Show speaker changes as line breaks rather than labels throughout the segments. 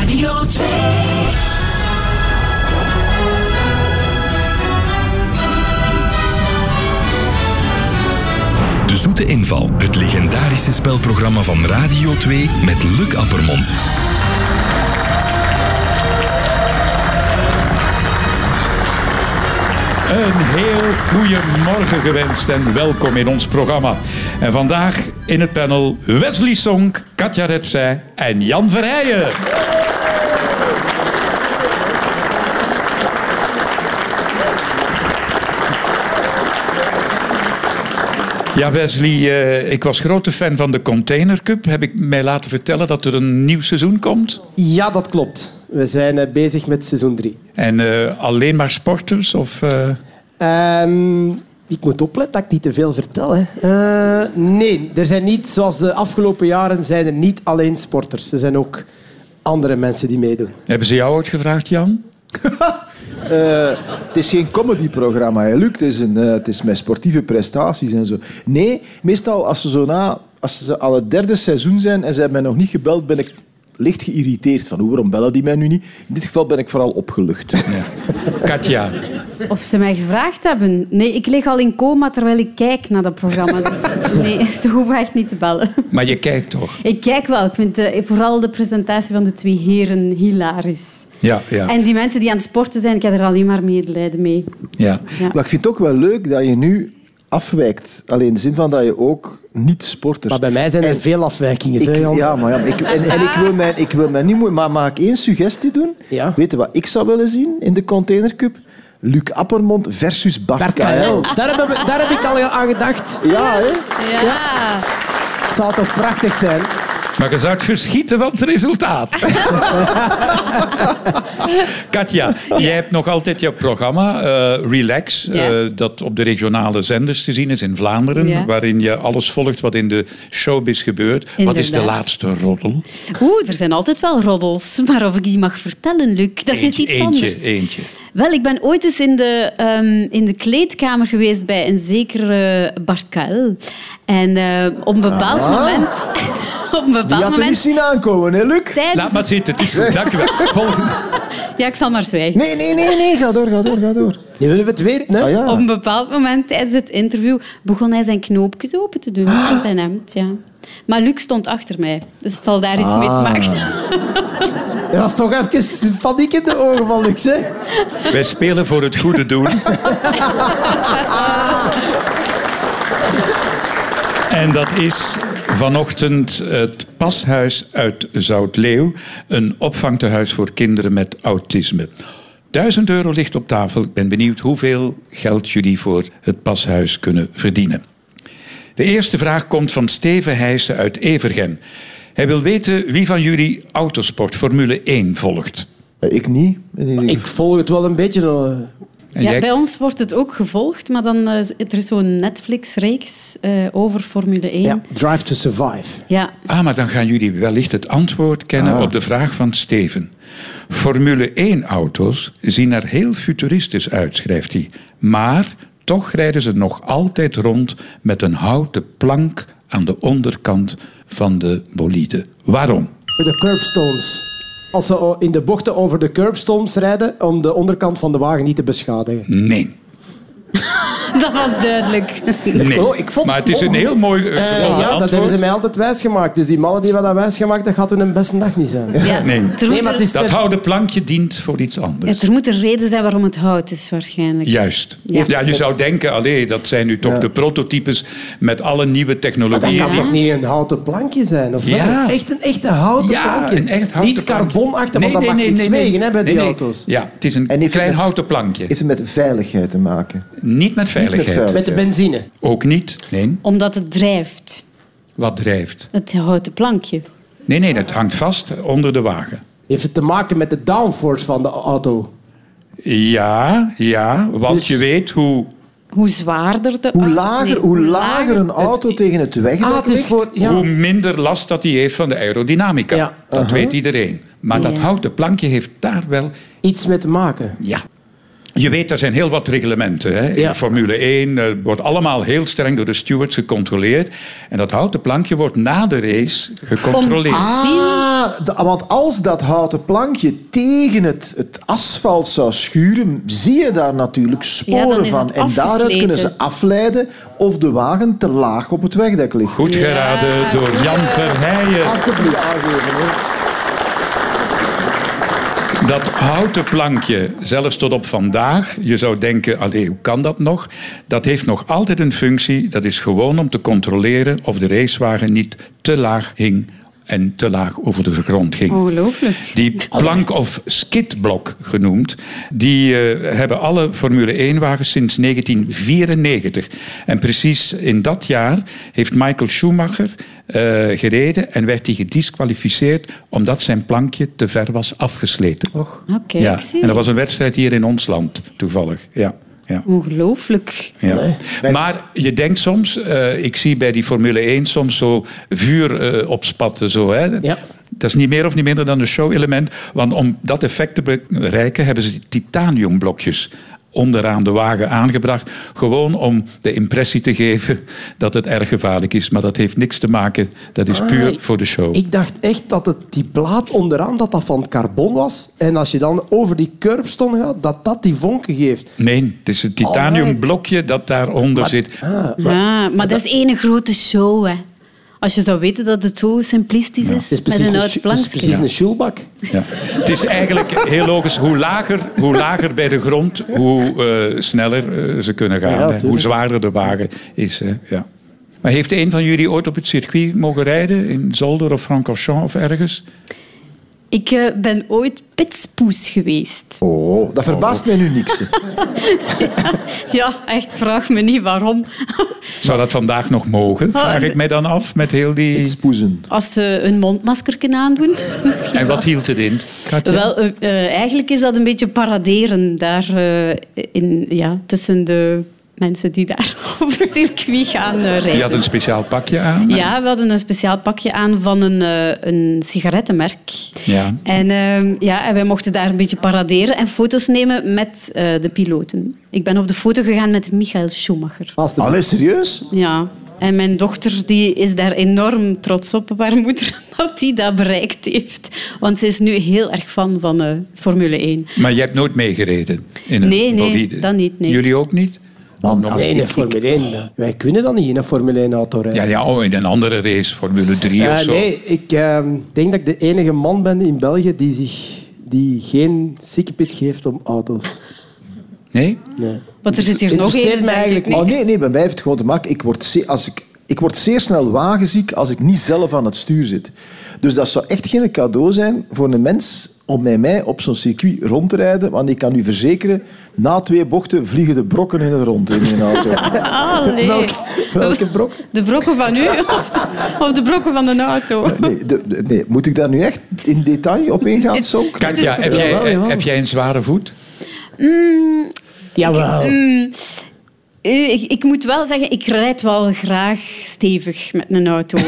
Radio 2.
De Zoete Inval, het legendarische spelprogramma van Radio 2 met Luc Appermond.
Een heel goeiemorgen gewenst en welkom in ons programma. En vandaag in het panel Wesley Sonk, Katja Retzij en Jan Verheijen. Ja, Wesley, eh, ik was grote fan van de Container Cup. Heb ik mij laten vertellen dat er een nieuw seizoen komt?
Ja, dat klopt. We zijn eh, bezig met seizoen 3.
En eh, alleen maar sporters? Of, eh,
Ehm, ik moet opletten dat ik niet te veel vertel. Hè. Eh, nee, er zijn niet, zoals de afgelopen jaren, zijn er niet alleen sporters. Er zijn ook andere mensen die meedoen.
hebben ze jou ooit gevraagd, Jan?
Het is geen comedyprogramma, hè, Luc. Het is, een, eh, het is met sportieve prestaties en zo. Nee, meestal als ze zo na... Als ze al het derde seizoen zijn en ze hebben mij nog niet gebeld, ben ik licht geïrriteerd. Van, hoe, waarom bellen die mij nu niet? In dit geval ben ik vooral opgelucht.
Katja.
Of ze mij gevraagd hebben. Nee, ik lig al in coma terwijl ik kijk naar dat programma. Dus nee, ze hoeven echt niet te bellen.
Maar je kijkt toch?
Ik kijk wel. Ik vind eh, vooral de presentatie van de twee heren hilarisch.
Ja, ja.
En die mensen die aan het sporten zijn, ik heb er alleen maar medelijden mee.
ja.
Ja.
Maar ik vind het ook wel leuk dat je nu afwijkt. Alleen in de zin van dat je ook niet-sporters...
Maar bij mij zijn er
En
veel afwijkingen. hè,
Ik,
Jan?
ja, maar ja, maar ik, en, en ik wil mij, ik wil mij niet moeien, maar mag ik één suggestie doen?
Ja.
Weet je wat ik zou willen zien in de Container Cup? Luc Appermond versus Bart,
Bart
Kael.
Kael. Daar, hebben we- daar heb ik al aan gedacht.
Ja, hè?
Ja.
Het zou toch prachtig zijn?
Maar je zou het verschieten van het resultaat. Katja, jij hebt nog altijd jouw programma eh, Relax,
Ja.
eh, dat op de regionale zenders te zien is in Vlaanderen,
Ja.
waarin je alles volgt wat in de showbiz gebeurt. Wat is de
Inderdaad.
laatste roddel?
Oeh, er zijn altijd wel roddels. Maar of ik die mag vertellen, Luc, dat is
eentje,
iets
eentje,
anders.
eentje.
Wel, ik ben ooit eens in de, ehm, in de kleedkamer geweest bij een zekere Bart Kael. En eh, op een bepaald moment... op een
Ah. Die
bepaald
had er niet
moment...
zien aankomen, hè, Luc?
Tijdens...
Laat maar zitten, het is goed, dank je wel. Volgende.
Ja, ik zal maar zwijgen.
Nee, nee, nee, nee, ga door, ga door, ga door.
Nu willen we het weten. Hè?
Ah, ja.
Op een bepaald moment tijdens het interview begon hij zijn knoopjes open te doen aan zijn hemd. Ja. Maar Luc stond achter mij, dus het zal daar iets mee te maken hebben.
Er was toch even paniek in de ogen van Lux. Hè?
Wij spelen voor het goede doen. En dat is vanochtend het Pashuis uit Zoutleeuw. Een opvangtehuis voor kinderen met autisme. Duizend euro ligt op tafel. Ik ben benieuwd hoeveel geld jullie voor het pashuis kunnen verdienen. De eerste vraag komt van Steven Heijsen uit Evergem. Hij wil weten wie van jullie autosport Formule 1 volgt.
Ik niet. In ieder geval.
Ik volg het wel een beetje. eh.
En
Ja,
jij-
bij ons wordt het ook gevolgd, maar dan, eh, er is zo'n Netflix-reeks eh, over Formule 1.
Ja, drive to survive.
ja,
Ah, maar dan gaan jullie wellicht het antwoord kennen
Ah.
op de vraag van Steven. Formule 1-auto's zien er heel futuristisch uit, schrijft hij. Maar toch rijden ze nog altijd rond met een houten plank aan de onderkant van de bolide. Waarom?
Met De curbstones. Als ze in de bochten over de curbstones rijden om de onderkant van de wagen niet te beschadigen.
Nee.
dat was duidelijk.
nee.
Oh, ik vond
maar het is een
mogelijk.
heel mooi eh,
Eh,
gevonden
ja, dat
antwoord.
hebben ze mij altijd wijsgemaakt. Dus die mannen die wat dat wijsgemaakt, dat gaat hun een beste dag niet zijn.
Ja.
Nee.
Nee,
Er, moet
maar
er,
het is
Dat
ter-
houten plankje dient voor iets anders.
er moet een reden zijn waarom het hout is, waarschijnlijk.
Juist. Ja,
Ja.
je zou denken, allee, dat zijn nu toch de prototypes met alle nieuwe
Maar dat
technologieën.
kan
die-
toch niet een houten plankje zijn? Of wel?
Ja.
Echt een echte houten
Ja,
plankje.
een echt houten
niet
plankje.
carbonachtig, want dat mag niks wegen hè, bij
Nee,
die
nee.
auto's.
Ja, het is een
En heeft
klein
het met-
houten plankje.
Heeft het met veiligheid te maken?
Niet met veiligheid.
veiligheid.
Met de benzine.
Ook niet. Nee.
Omdat het drijft,
Wat drijft?
het houten plankje.
Nee, nee, dat hangt vast onder de wagen.
Heeft het te maken met de downforce van de auto?
Ja, ja, want
Dus-
je weet hoe...
Hoe zwaarder de...
Hoe
ah,
lager,
nee,
hoe lager een auto tegen het
Ah,
wegdek
het is
ligt...
voor... Ja.
Hoe minder last dat hij heeft van de aerodynamica.
Ja.
Dat weet iedereen. Maar dat
Ja.
houten plankje heeft daar wel...
Iets mee te maken.
Ja. Je weet, er zijn heel wat reglementen. Hè? In Formule 1 eh, wordt allemaal heel streng door de stewards gecontroleerd. En dat houten plankje wordt na de race gecontroleerd.
Om- Zien.
Ah, da- want als dat houten plankje tegen het, het asfalt zou schuren, zie je daar natuurlijk
Ja, dan
sporen
is het
van. En daaruit
afgesleten.
kunnen ze afleiden of de wagen te laag op het wegdek ligt.
Goed geraden door Jan Verheijen.
Alsjeblieft. Aangeven, hoor.
Dat houten plankje, zelfs tot op vandaag, je zou denken, allee, hoe kan dat nog? Dat heeft nog altijd een functie. Dat is gewoon om te controleren of de racewagen niet te laag hing en te laag over de grond ging.
Ongelooflijk.
Die plank of skidblok genoemd, die eh, hebben alle Formule 1-wagens sinds 1994. En precies in dat jaar heeft Michael Schumacher eh, gereden en werd hij gedisqualificeerd omdat zijn plankje te ver was afgesleten.
Oké,
ja.
ik Ah, zie.
En dat was een wedstrijd hier in ons land, toevallig. Ja. Ja.
Ongelooflijk.
Ja. Maar je denkt soms, eh, ik zie bij die Formule 1 soms zo vuur eh, opspatten. Zo, hè.
Ja.
Dat is niet meer of niet minder dan een show-element. Want om dat effect te bereiken hebben ze die titaniumblokjes onderaan de wagen aangebracht. Gewoon om de impressie te geven dat het erg gevaarlijk is. Maar dat heeft niks te maken, dat is puur voor de show.
Ik dacht echt dat het, die plaat onderaan dat dat van carbon was. En als je dan over die curbstone gaat, dat dat die vonken geeft.
Nee, het is een titaniumblokje dat daaronder zit.
Ja, maar dat is één grote show, hè. Als je zou weten dat het zo simplistisch
Het
is,
is
met
precies
een
een,
oud
schu- het is
plankje.
precies een shoelbak.
Ja. Het is eigenlijk heel logisch. Hoe lager, hoe lager bij de grond, hoe eh, sneller eh, ze kunnen gaan.
Ja,
hè.
tuurlijk.
hoe zwaarder de wagen is. Hè. Ja. Maar heeft een van jullie ooit op het circuit mogen rijden? In Zolder of Francorchamps of ergens?
Ik eh, ben ooit pitspoes geweest.
Oh, dat verbaast mij nu niks. hè.
Ja, echt, vraag me niet waarom.
Zou dat vandaag nog
Oh,
mogen? Vraag ik mij dan af met heel die...
Spoezen.
Als ze een mondmaskerken aandoen, misschien
En wat
wel.
hield het in? Katja?
Wel, eh, eh, eigenlijk is dat een beetje paraderen daar, eh, in, ja, tussen de mensen die daar op het circuit gaan eh,
Je
rijden.
had een speciaal pakje aan.
Ja, we hadden een speciaal pakje aan van een, eh, een sigarettenmerk.
Ja.
En, ehm, ja, en wij mochten daar een beetje paraderen en foto's nemen met eh, de piloten. Ik ben op de foto gegaan met Michael Schumacher.
Alsjeblieft.
Allee, serieus?
Ja. En mijn dochter die is daar enorm trots op, op haar moeder, dat die dat bereikt heeft. Want ze is nu heel erg fan van eh, Formule 1.
Maar je hebt nooit meegereden in een
Nee, nee,
bolide?
dat niet, nee.
Jullie ook niet?
Man,
Nog-
als-
Nee, in een Formule 1. eh, Wij kunnen dat niet in een Formule 1 auto rijden.
ja, ja, oh, in een andere race, Formule 3
Eh,
of zo.
nee, ik eh, denk dat ik de enige man ben in België die, zich, die geen sikkepit geeft om auto's.
Nee?
Nee.
Want er zit hier nog
Interesseert
één,
mij
denk ik,
eigenlijk
Oh, nee, nee, bij mij heeft het gewoon te maken. Ik word, ze- als ik, ik word zeer snel wagenziek als ik niet zelf aan het stuur zit. Dus dat zou echt geen cadeau zijn voor een mens om met mij op zo'n circuit rond te rijden. Want ik kan u verzekeren, na twee bochten vliegen de brokken in het rond in mijn auto.
Ah, nee.
Welke brok?
De brokken van u of de, of de brokken van de auto?
Nee, de- de- nee, moet ik daar nu echt in detail op ingaan? Sok?
Katja, heb jij, heb jij een zware voet?
Jawel.
Hm. Eh, Ik, ik moet wel zeggen, ik rijd wel graag stevig met een auto.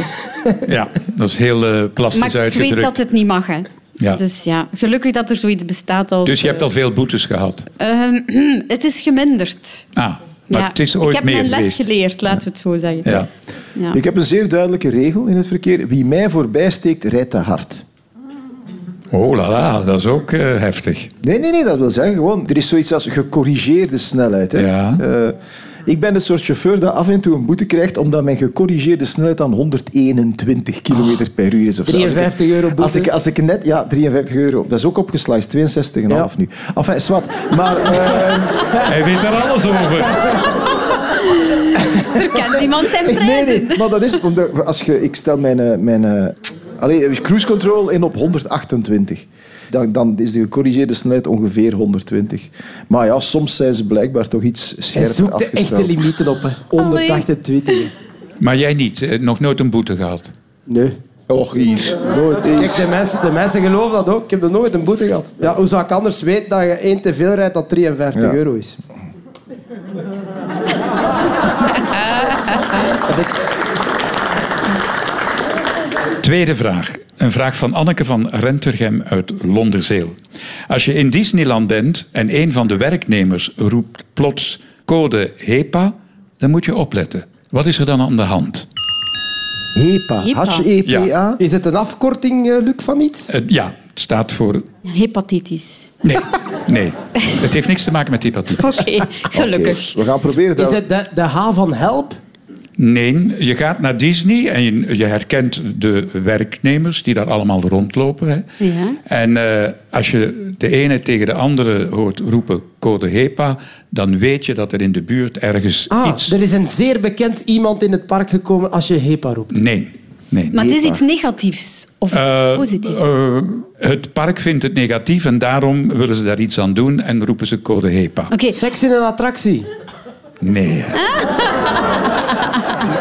Ja, dat is heel eh, plastisch
Maar ik weet
uitgedrukt.
dat het niet mag, hè.
Ja.
Dus ja, gelukkig dat er zoiets bestaat als...
Dus je hebt al veel boetes gehad.
eh, ehm, het is geminderd.
Ah, maar
Ja,
het is
ik
ooit
heb
meer
mijn les
geweest.
geleerd, laten we het zo zeggen.
Ja.
Ja.
Ik heb een zeer duidelijke regel in het verkeer. Wie mij voorbij steekt, rijdt te hard.
Oh la la, dat is ook eh, heftig.
Nee, nee, nee, dat wil zeggen gewoon. Er is zoiets als gecorrigeerde snelheid. Hè?
Ja.
Eh, ik ben het soort chauffeur dat af en toe een boete krijgt omdat mijn gecorrigeerde snelheid dan 121 km per uur is. Of zo. Als ik-
53 euro boete.
Als ik, als ik net, ja, 53 euro. Dat is ook opgesliced, 62,5
Ja.
nu. Enfin, zwart. Maar eh,
Hij weet daar alles over.
Er kent iemand zijn
ik,
prijzen.
nee, nee, maar dat is omdat als je, ik stel mijn, eh, mijn eh, allee, cruise control in op 128. Dan, dan is de gecorrigeerde snelheid ongeveer 120. Maar ja, soms zijn ze blijkbaar toch iets
Hij
scherper
zoekt de
afgesteld.
echte limieten op. hè. 128.
Maar jij niet, eh, nog nooit een boete gehad.
Nee.
Och, hier.
Nooit. Kijk, de mensen, de mensen geloven dat ook. Ik heb er nooit een boete gehad. Ja, hoe zou ik anders weten dat je één te veel rijdt dat 53
Ja.
euro is?
Tweede vraag. Een vraag van Anneke van Rentergem uit Londerzeel. Als je in Disneyland bent en een van de werknemers roept plots code HEPA, dan moet je opletten. Wat is er dan aan de hand?
HEPA.
Hepa.
H-E-P-A.
Ja.
Is het een afkorting, eh, Luc, van iets?
Eh, ja, het staat voor...
Hepatitis.
Nee, nee. Het heeft niks te maken met hepatitis.
Oké, gelukkig.
Oké, We gaan proberen
Is
dat...
het de, de H van help?
Nee, je gaat naar Disney en je, je herkent de werknemers die daar allemaal rondlopen. Hè.
Ja.
En eh, als je de ene tegen de andere hoort roepen code HEPA, dan weet je dat er in de buurt ergens
Ah,
iets...
er is een zeer bekend iemand in het park gekomen als je HEPA roept.
Nee, nee.
Maar het is iets negatiefs of iets
Eh,
positiefs.
eh, het park vindt het negatief en daarom willen ze daar iets aan doen en roepen ze code HEPA.
Oké, Eh?
Seks in een attractie.
Nee. hè.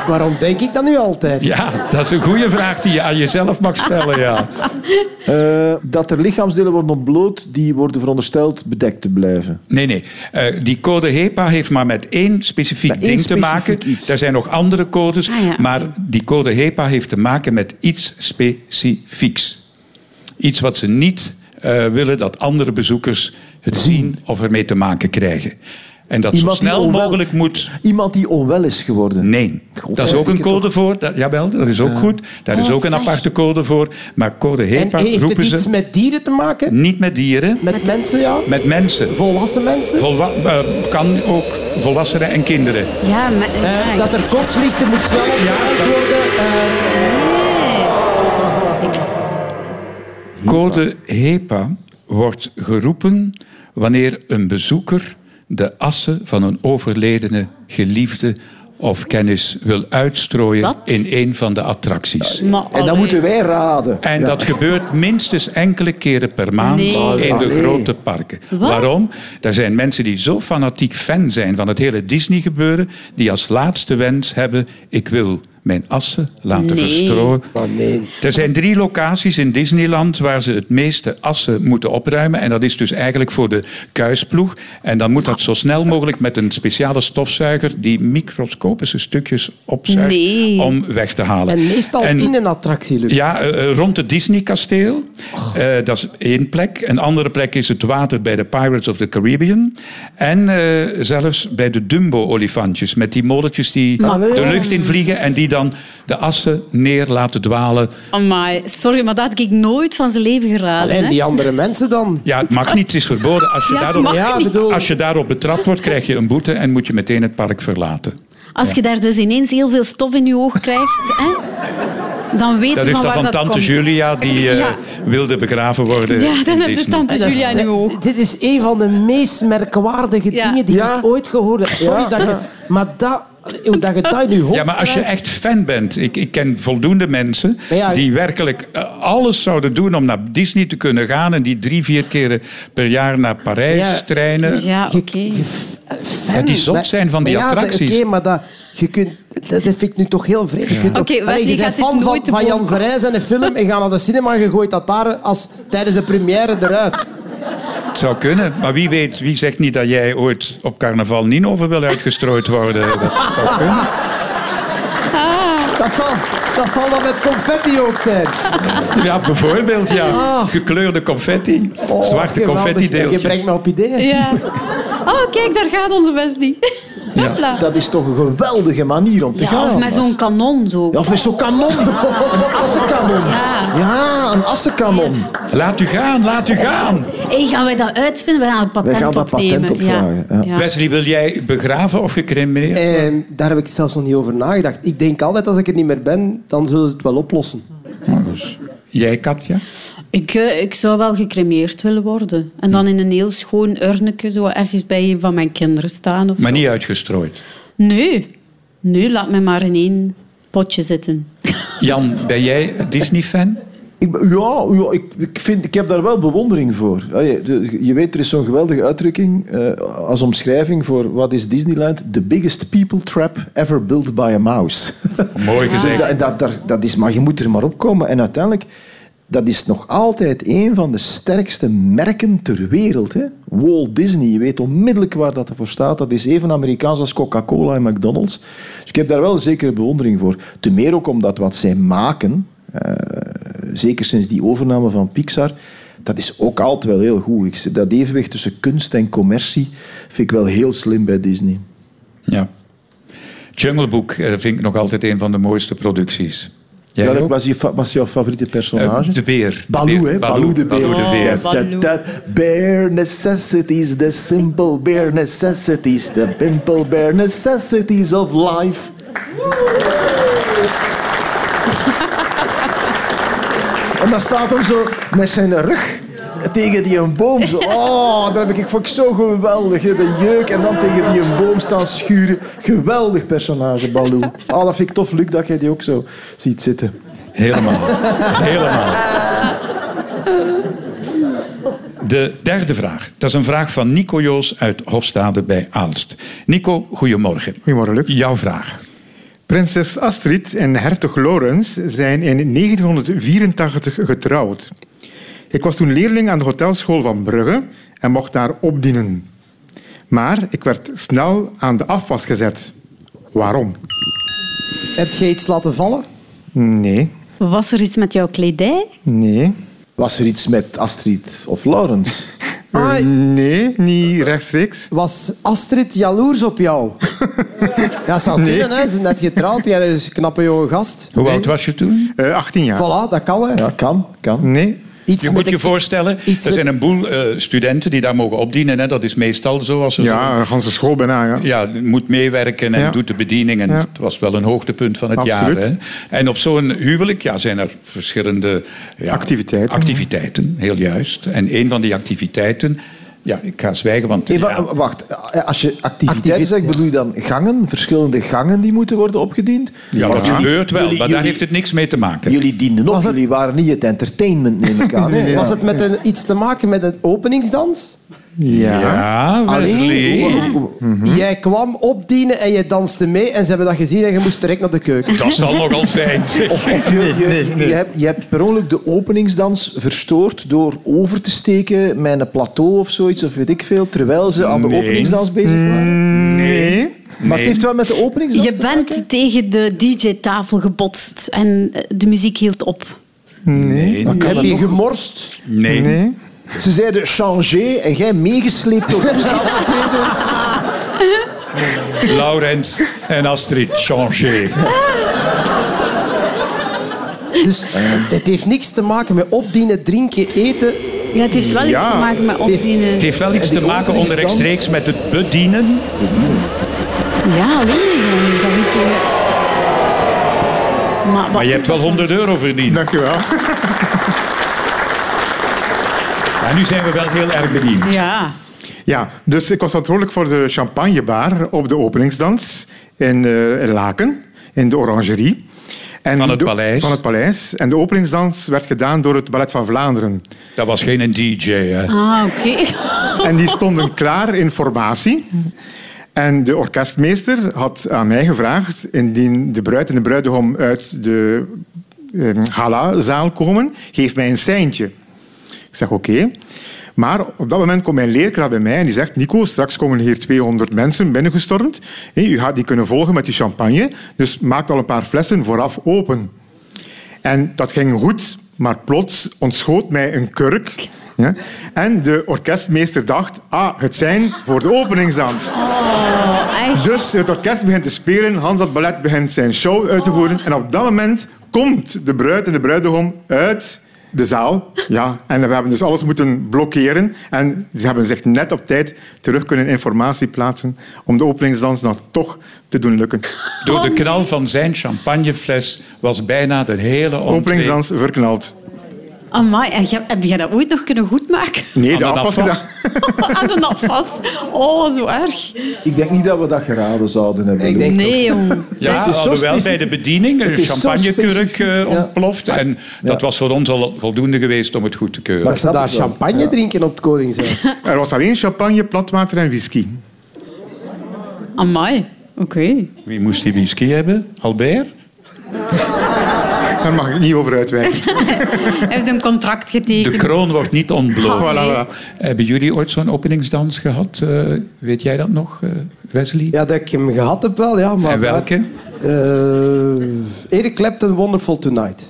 Waarom denk ik dat nu altijd?
Ja, dat is een goede vraag die je aan jezelf mag stellen, ja.
Eh, dat er lichaamsdelen worden ontbloot die worden verondersteld bedekt te blijven.
Nee, nee. Eh, die code HEPA heeft maar met één specifiek
Met één
ding
specifiek
te maken.
iets.
Er zijn nog andere codes,
Ah, ja.
maar die code HEPA heeft te maken met iets specifieks. Iets wat ze niet eh, willen dat andere bezoekers het zien of ermee te maken krijgen. En dat
Iemand
zo
die
snel
onwel-
mogelijk moet.
Iemand die onwel is geworden.
Nee,
God,
dat is
ja,
ook
ik
een
het
code voor. Dat, jawel, dat is ook goed. Daar is
Oh,
ook een
zeg.
aparte code voor. Maar code
En
HEPA
heeft het
roepen
iets
ze
met dieren te maken?
niet met dieren,
Met mensen, ja?
met mensen.
Volwassen mensen?
Volwa- eh, kan ook volwassenen en kinderen.
ja, maar...
Eh,
ja,
dat er kotslichten moet snel opgeruimd worden. Eh,
Code HEPA wordt geroepen wanneer een bezoeker de assen van een overledene geliefde of kennis wil uitstrooien
Wat?
in een van de attracties.
maar
En
allee.
dan moeten wij raden.
En
Ja.
dat gebeurt minstens enkele keren per maand
Nee.
in de
Allee.
grote parken.
Wat?
Waarom? Daar zijn mensen die zo fanatiek fan zijn van het hele Disney gebeuren, die als laatste wens hebben, ik wil mijn assen laten
Nee.
verstrooien
maar Oh, nee.
Er zijn drie locaties in Disneyland waar ze het meeste assen moeten opruimen. En dat is dus eigenlijk voor de kuisploeg. En dan moet dat zo snel mogelijk met een speciale stofzuiger die microscopische stukjes opzuigt
Nee.
om weg te halen.
En meestal
En-
in een attractie, Luc.
ja, eh, eh, rond het Disney-kasteel. Eh, dat is één plek. Een andere plek is het water bij de Pirates of the Caribbean. En eh, zelfs bij de Dumbo-olifantjes. Met die molletjes die de lucht in vliegen en die dan de assen neer laten dwalen.
Amai, sorry, maar dat had ik nooit van zijn leven geraden.
En
hè.
die andere mensen dan?
Ja, het mag niet, het is verboden. Als je,
Ja, het
daarop,
mag
Ja,
niet.
bedoel...
als je daarop betrapt wordt, krijg je een boete en moet je meteen het park verlaten.
Als je daar dus ineens heel veel stof in je oog krijgt, hè, dan weet
Dat
je
is dan
van waar
van
dat
tante
komt.
Julia, die eh,
Ja.
wilde begraven worden
Ja, dan
in
heb je
Disney.
tante
Dat is-
Julia in je oog.
Dit is een van de meest merkwaardige
Ja.
dingen die
Ja.
ik ooit gehoord heb. Sorry dat je... Maar dat... Hoe dat je dat in je hoofd
Ja, maar als je
krijgt-
echt fan bent, ik, ik ken voldoende mensen
Maar ja,
die werkelijk eh, alles zouden doen om naar Disney te kunnen gaan en die drie, vier keren per jaar naar Parijs
Ja.
treinen.
Ja, oké.
Je- je f- eh, fan.
Ja, die zot
Maar-
zijn van die
maar ja,
attracties.
Oké, maar dat, je kunt, dat vind ik nu toch heel vreemd. Je kunt ook-
Oké, Wesley
Allee, je bent
gaat dit
fan van,
nooit te
van Jan
boven komen.
Verheijs en een film en gaat naar de cinema en je gooit dat daar als, tijdens de première eruit.
Het zou kunnen, maar wie weet, wie zegt niet dat jij ooit op carnaval Ninove wil uitgestrooid worden? Dat zou kunnen.
Dat zal, dat zal dan met confetti ook zijn.
Ja, bijvoorbeeld, ja.
Ah.
Oh. Gekleurde confetti,
Oh,
zwarte
geweldig.
confetti
Je brengt
deeltjes.
me op ideeën.
Ja. Oh, kijk, daar gaat onze Wesley. Hopla.
Dat is toch een geweldige manier om te gaan.
Ja, of met
Bas.
zo'n kanon zo.
Ja, of met zo'n kanon. Een assenkanon.
Ja.
Ja, een assenkanon.
Laat u gaan, laat u gaan.
Hey, gaan wij dat uitvinden? We gaan het patent
Wij gaan dat
opnemen.
patent opvragen,
Ja.
ja.
Ja.
Wesley, wil jij begraven of gecremeerd?
Ehm, daar heb ik zelfs nog niet over nagedacht. Ik denk altijd, als ik er niet meer ben, dan zullen ze het wel oplossen.
Nou, dus Jij, Katja?
Ik, eh, ik zou wel gecremeerd willen worden. En dan in een heel schoon urneke zo ergens bij een van mijn kinderen staan. Of
Maar
zo.
niet uitgestrooid.
Nee. Nee, laat mij maar in één potje zitten.
Jan, ben jij Disney-fan?
Ik, ben- ja, ja ik, ik, vind, ik heb daar wel bewondering voor. Allee, de- je weet, er is zo'n geweldige uitdrukking eh, als omschrijving voor wat is Disneyland? The biggest people trap ever built by a mouse.
Mooi
Dus
gezegd.
dat, dat, daar- dat is, maar je moet er maar op komen. En uiteindelijk, dat is nog altijd een van de sterkste merken ter wereld. Hè? Walt Disney, je weet onmiddellijk waar dat voor staat. Dat is even Amerikaans als Coca-Cola en McDonald's. Dus ik heb daar wel een zekere bewondering voor. Ten meer ook omdat wat zij maken, eh, zeker sinds die overname van Pixar, dat is ook altijd wel heel goed. Ik, zeg, dat evenwicht tussen kunst en commercie vind ik wel heel slim bij Disney.
Ja. Jungle Book eh, vind ik nog altijd een van de mooiste producties. Jij
Welk
ook?
was, je, fa- was jouw favoriete personage?
Eh, de beer.
Baloo,
Beer.
hè? Baloo de beer.
Baloo de beer.
Oh, Baloo.
Da- da- bare necessities, the simple bare necessities, the pimple bare necessities of life. En dan staat hem zo met zijn rug tegen die een boom. Zo. Oh, dat heb ik, vond ik zo geweldig. hè. De jeuk en dan tegen die een boom staan schuren. Geweldig personage, Baloo. Oh, dat vind ik tof, Luc, dat jij die ook zo ziet zitten.
Helemaal. Helemaal. De derde vraag. Dat is een vraag van Nico Joos uit Hofstade bij Aalst. Nico, goedemorgen.
Goedemorgen, Luc.
Jouw vraag.
Prinses Astrid en hertog Lorenz zijn in 1984 getrouwd. Ik was toen leerling aan de hotelschool van Brugge en mocht daar opdienen. Maar ik werd snel aan de afwas gezet. Waarom?
Heb je iets laten vallen?
Nee,
Was er iets met jouw kledij?
nee,
Was er iets met Astrid of Lawrence?
Ah,
Ehm. nee, niet rechtstreeks.
was Astrid jaloers op jou? ja, zou
Nee.
kunnen. Hè. Ze is net getrouwd. Jij is een knappe jonge gast.
Hoe oud was je toen?
Eh, 18 jaar.
Voilà, dat kan. Hè.
Ja, kan, kan.
Nee,
Iets
Je
met
moet
een-
je voorstellen,
iets
er
met-
zijn een boel eh, studenten die daar mogen opdienen. Hè. Dat is meestal zo. Als ze
ja, een ganse school bijna. Ja.
zo- ja, moet meewerken en
Ja.
doet de bediening. En
Ja.
het was wel een hoogtepunt van het
Absoluut.
jaar. Hè. En op zo'n huwelijk ja, zijn er verschillende ja,
Activiteiten.
activiteiten, heel juist. En een van die activiteiten... Ja, ik ga zwijgen, want...
Hey, wa-
ja.
Wacht, als je activiteiten
Activi-
zegt, bedoel je dan gangen? Verschillende gangen die moeten worden opgediend?
Ja,
Want
dat
jullie-
gebeurt wel,
jullie-
maar daar
jullie-
heeft het niks mee te maken.
Jullie dienden op,
Was het-
jullie waren niet het entertainment, neem ik aan. hè?
Was het met een, iets te maken met een openingsdans?
Ja.
Ja,
Allee, hoe-
Wesley.
hoe- hoe-
Jij kwam opdienen en je danste mee en ze hebben dat gezien en je moest direct naar de keuken.
Dat zal nogal zijn. zeg.
je- je- Je hebt- je hebt per ongeluk de openingsdans verstoord door over te steken met een plateau of zoiets, of weet ik veel, terwijl ze aan de
Nee.
openingsdans bezig
Mm.
waren.
Nee.
Maar het heeft wel met de openingsdans
Je
te
bent tegen de DJ-tafel gebotst en eh, de muziek hield op.
Nee,
Heb je gemorst?
nee.
Nee.
Ze zeiden changer en jij meegesleept door omstandigheden.
Laurens en Astrid Changer.
Dus het heeft niks te maken met opdienen, drinken, eten.
Ja, het heeft wel
Ja.
iets te maken met
Het
opdienen.
heeft wel iets te maken onderrechtstreeks met het bedienen.
Ja, weet ik niet. Dat weet ik. Maar, wat
Maar je
is
hebt wel
dat dan?
100 euro verdiend.
Dankjewel.
En nu zijn we wel heel erg bediend.
Ja.
Ja, dus ik was verantwoordelijk voor de champagnebar op de openingsdans in eh, Laken, in de Orangerie. En
Van het
de-
paleis.
Van het paleis. En de openingsdans werd gedaan door het Ballet van Vlaanderen.
Dat was geen een DJ. Hè.
Ah, oké.
En die stonden klaar in formatie. En de orkestmeester had aan mij gevraagd, indien de bruid en de bruidegom uit de eh, galazaal komen, geef mij een seintje. Ik zeg oké. Maar op dat moment komt mijn leerkracht bij mij en die zegt... Nico, straks komen hier 200 mensen binnengestormd. Hé, U gaat die kunnen volgen met die champagne. Dus maak al een paar flessen vooraf open. En dat ging goed, maar plots ontschoot mij een kurk. Ja? En de orkestmeester dacht, ah, het zijn voor de openingsdans.
Oh, echt.
Dus het orkest begint te spelen, Hans dat ballet begint zijn show uit te voeren. En op dat moment komt de bruid en de bruidegom uit de zaal. Ja, en we hebben dus alles moeten blokkeren. En ze hebben zich net op tijd terug kunnen informatie plaatsen om de openingsdans dan toch te doen lukken.
Door de knal van zijn champagnefles was bijna de hele entree
Openingsdans verknald.
Amai, en je- heb jij dat ooit nog kunnen goedmaken?
Nee,
Aan
de
de
afwas
afwas.
gedaan.
Aan de nap vast. Oh, zo erg.
Ik denk niet dat we dat geraden zouden hebben.
Ik denk-
Nee, jong.
Ja,
Het is zo
alhoewel bij
specifiek.
de bediening een
Het is zo
champagnekurk
specifiek,
eh,
ja.
ontploft. En dat was voor ons al voldoende geweest om het goed te keuren.
Dat ze
snap
daar
ik wel.
champagne drinken op het Koningshuis.
Er was alleen champagne, platwater en whisky.
Amai. Oké.
Wie moest die whisky hebben? Albert?
Daar mag ik niet over uitwijken.
Hij heeft een contract
De
getekend.
kroon wordt niet ontbloot.
Ah, nee.
Voilà, voilà.
Hebben jullie ooit zo'n openingsdans gehad? Eh, weet jij dat nog, eh, Wesley?
Ja, dat ik hem gehad heb wel, ja. Maar
en welke?
Eh, Eric Clapton, Wonderful Tonight.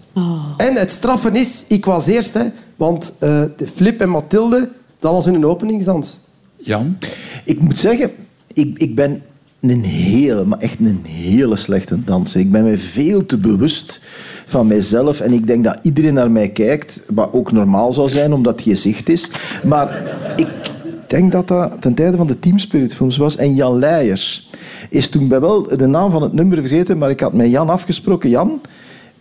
En het straffen is, ik was eerst, hè, want eh, de Flip en Mathilde, dat was hun openingsdans.
Jan?
Ik moet zeggen, ik, ik ben een hele, maar echt een hele slechte danser. Ik ben me veel te bewust van mijzelf en ik denk dat iedereen naar mij kijkt, wat ook normaal zou zijn, omdat je zicht is. Maar ik denk dat dat ten tijde van de Team Spirit films was en Jan Leijers is toen bij wel de naam van het nummer vergeten, maar ik had met Jan afgesproken. Jan,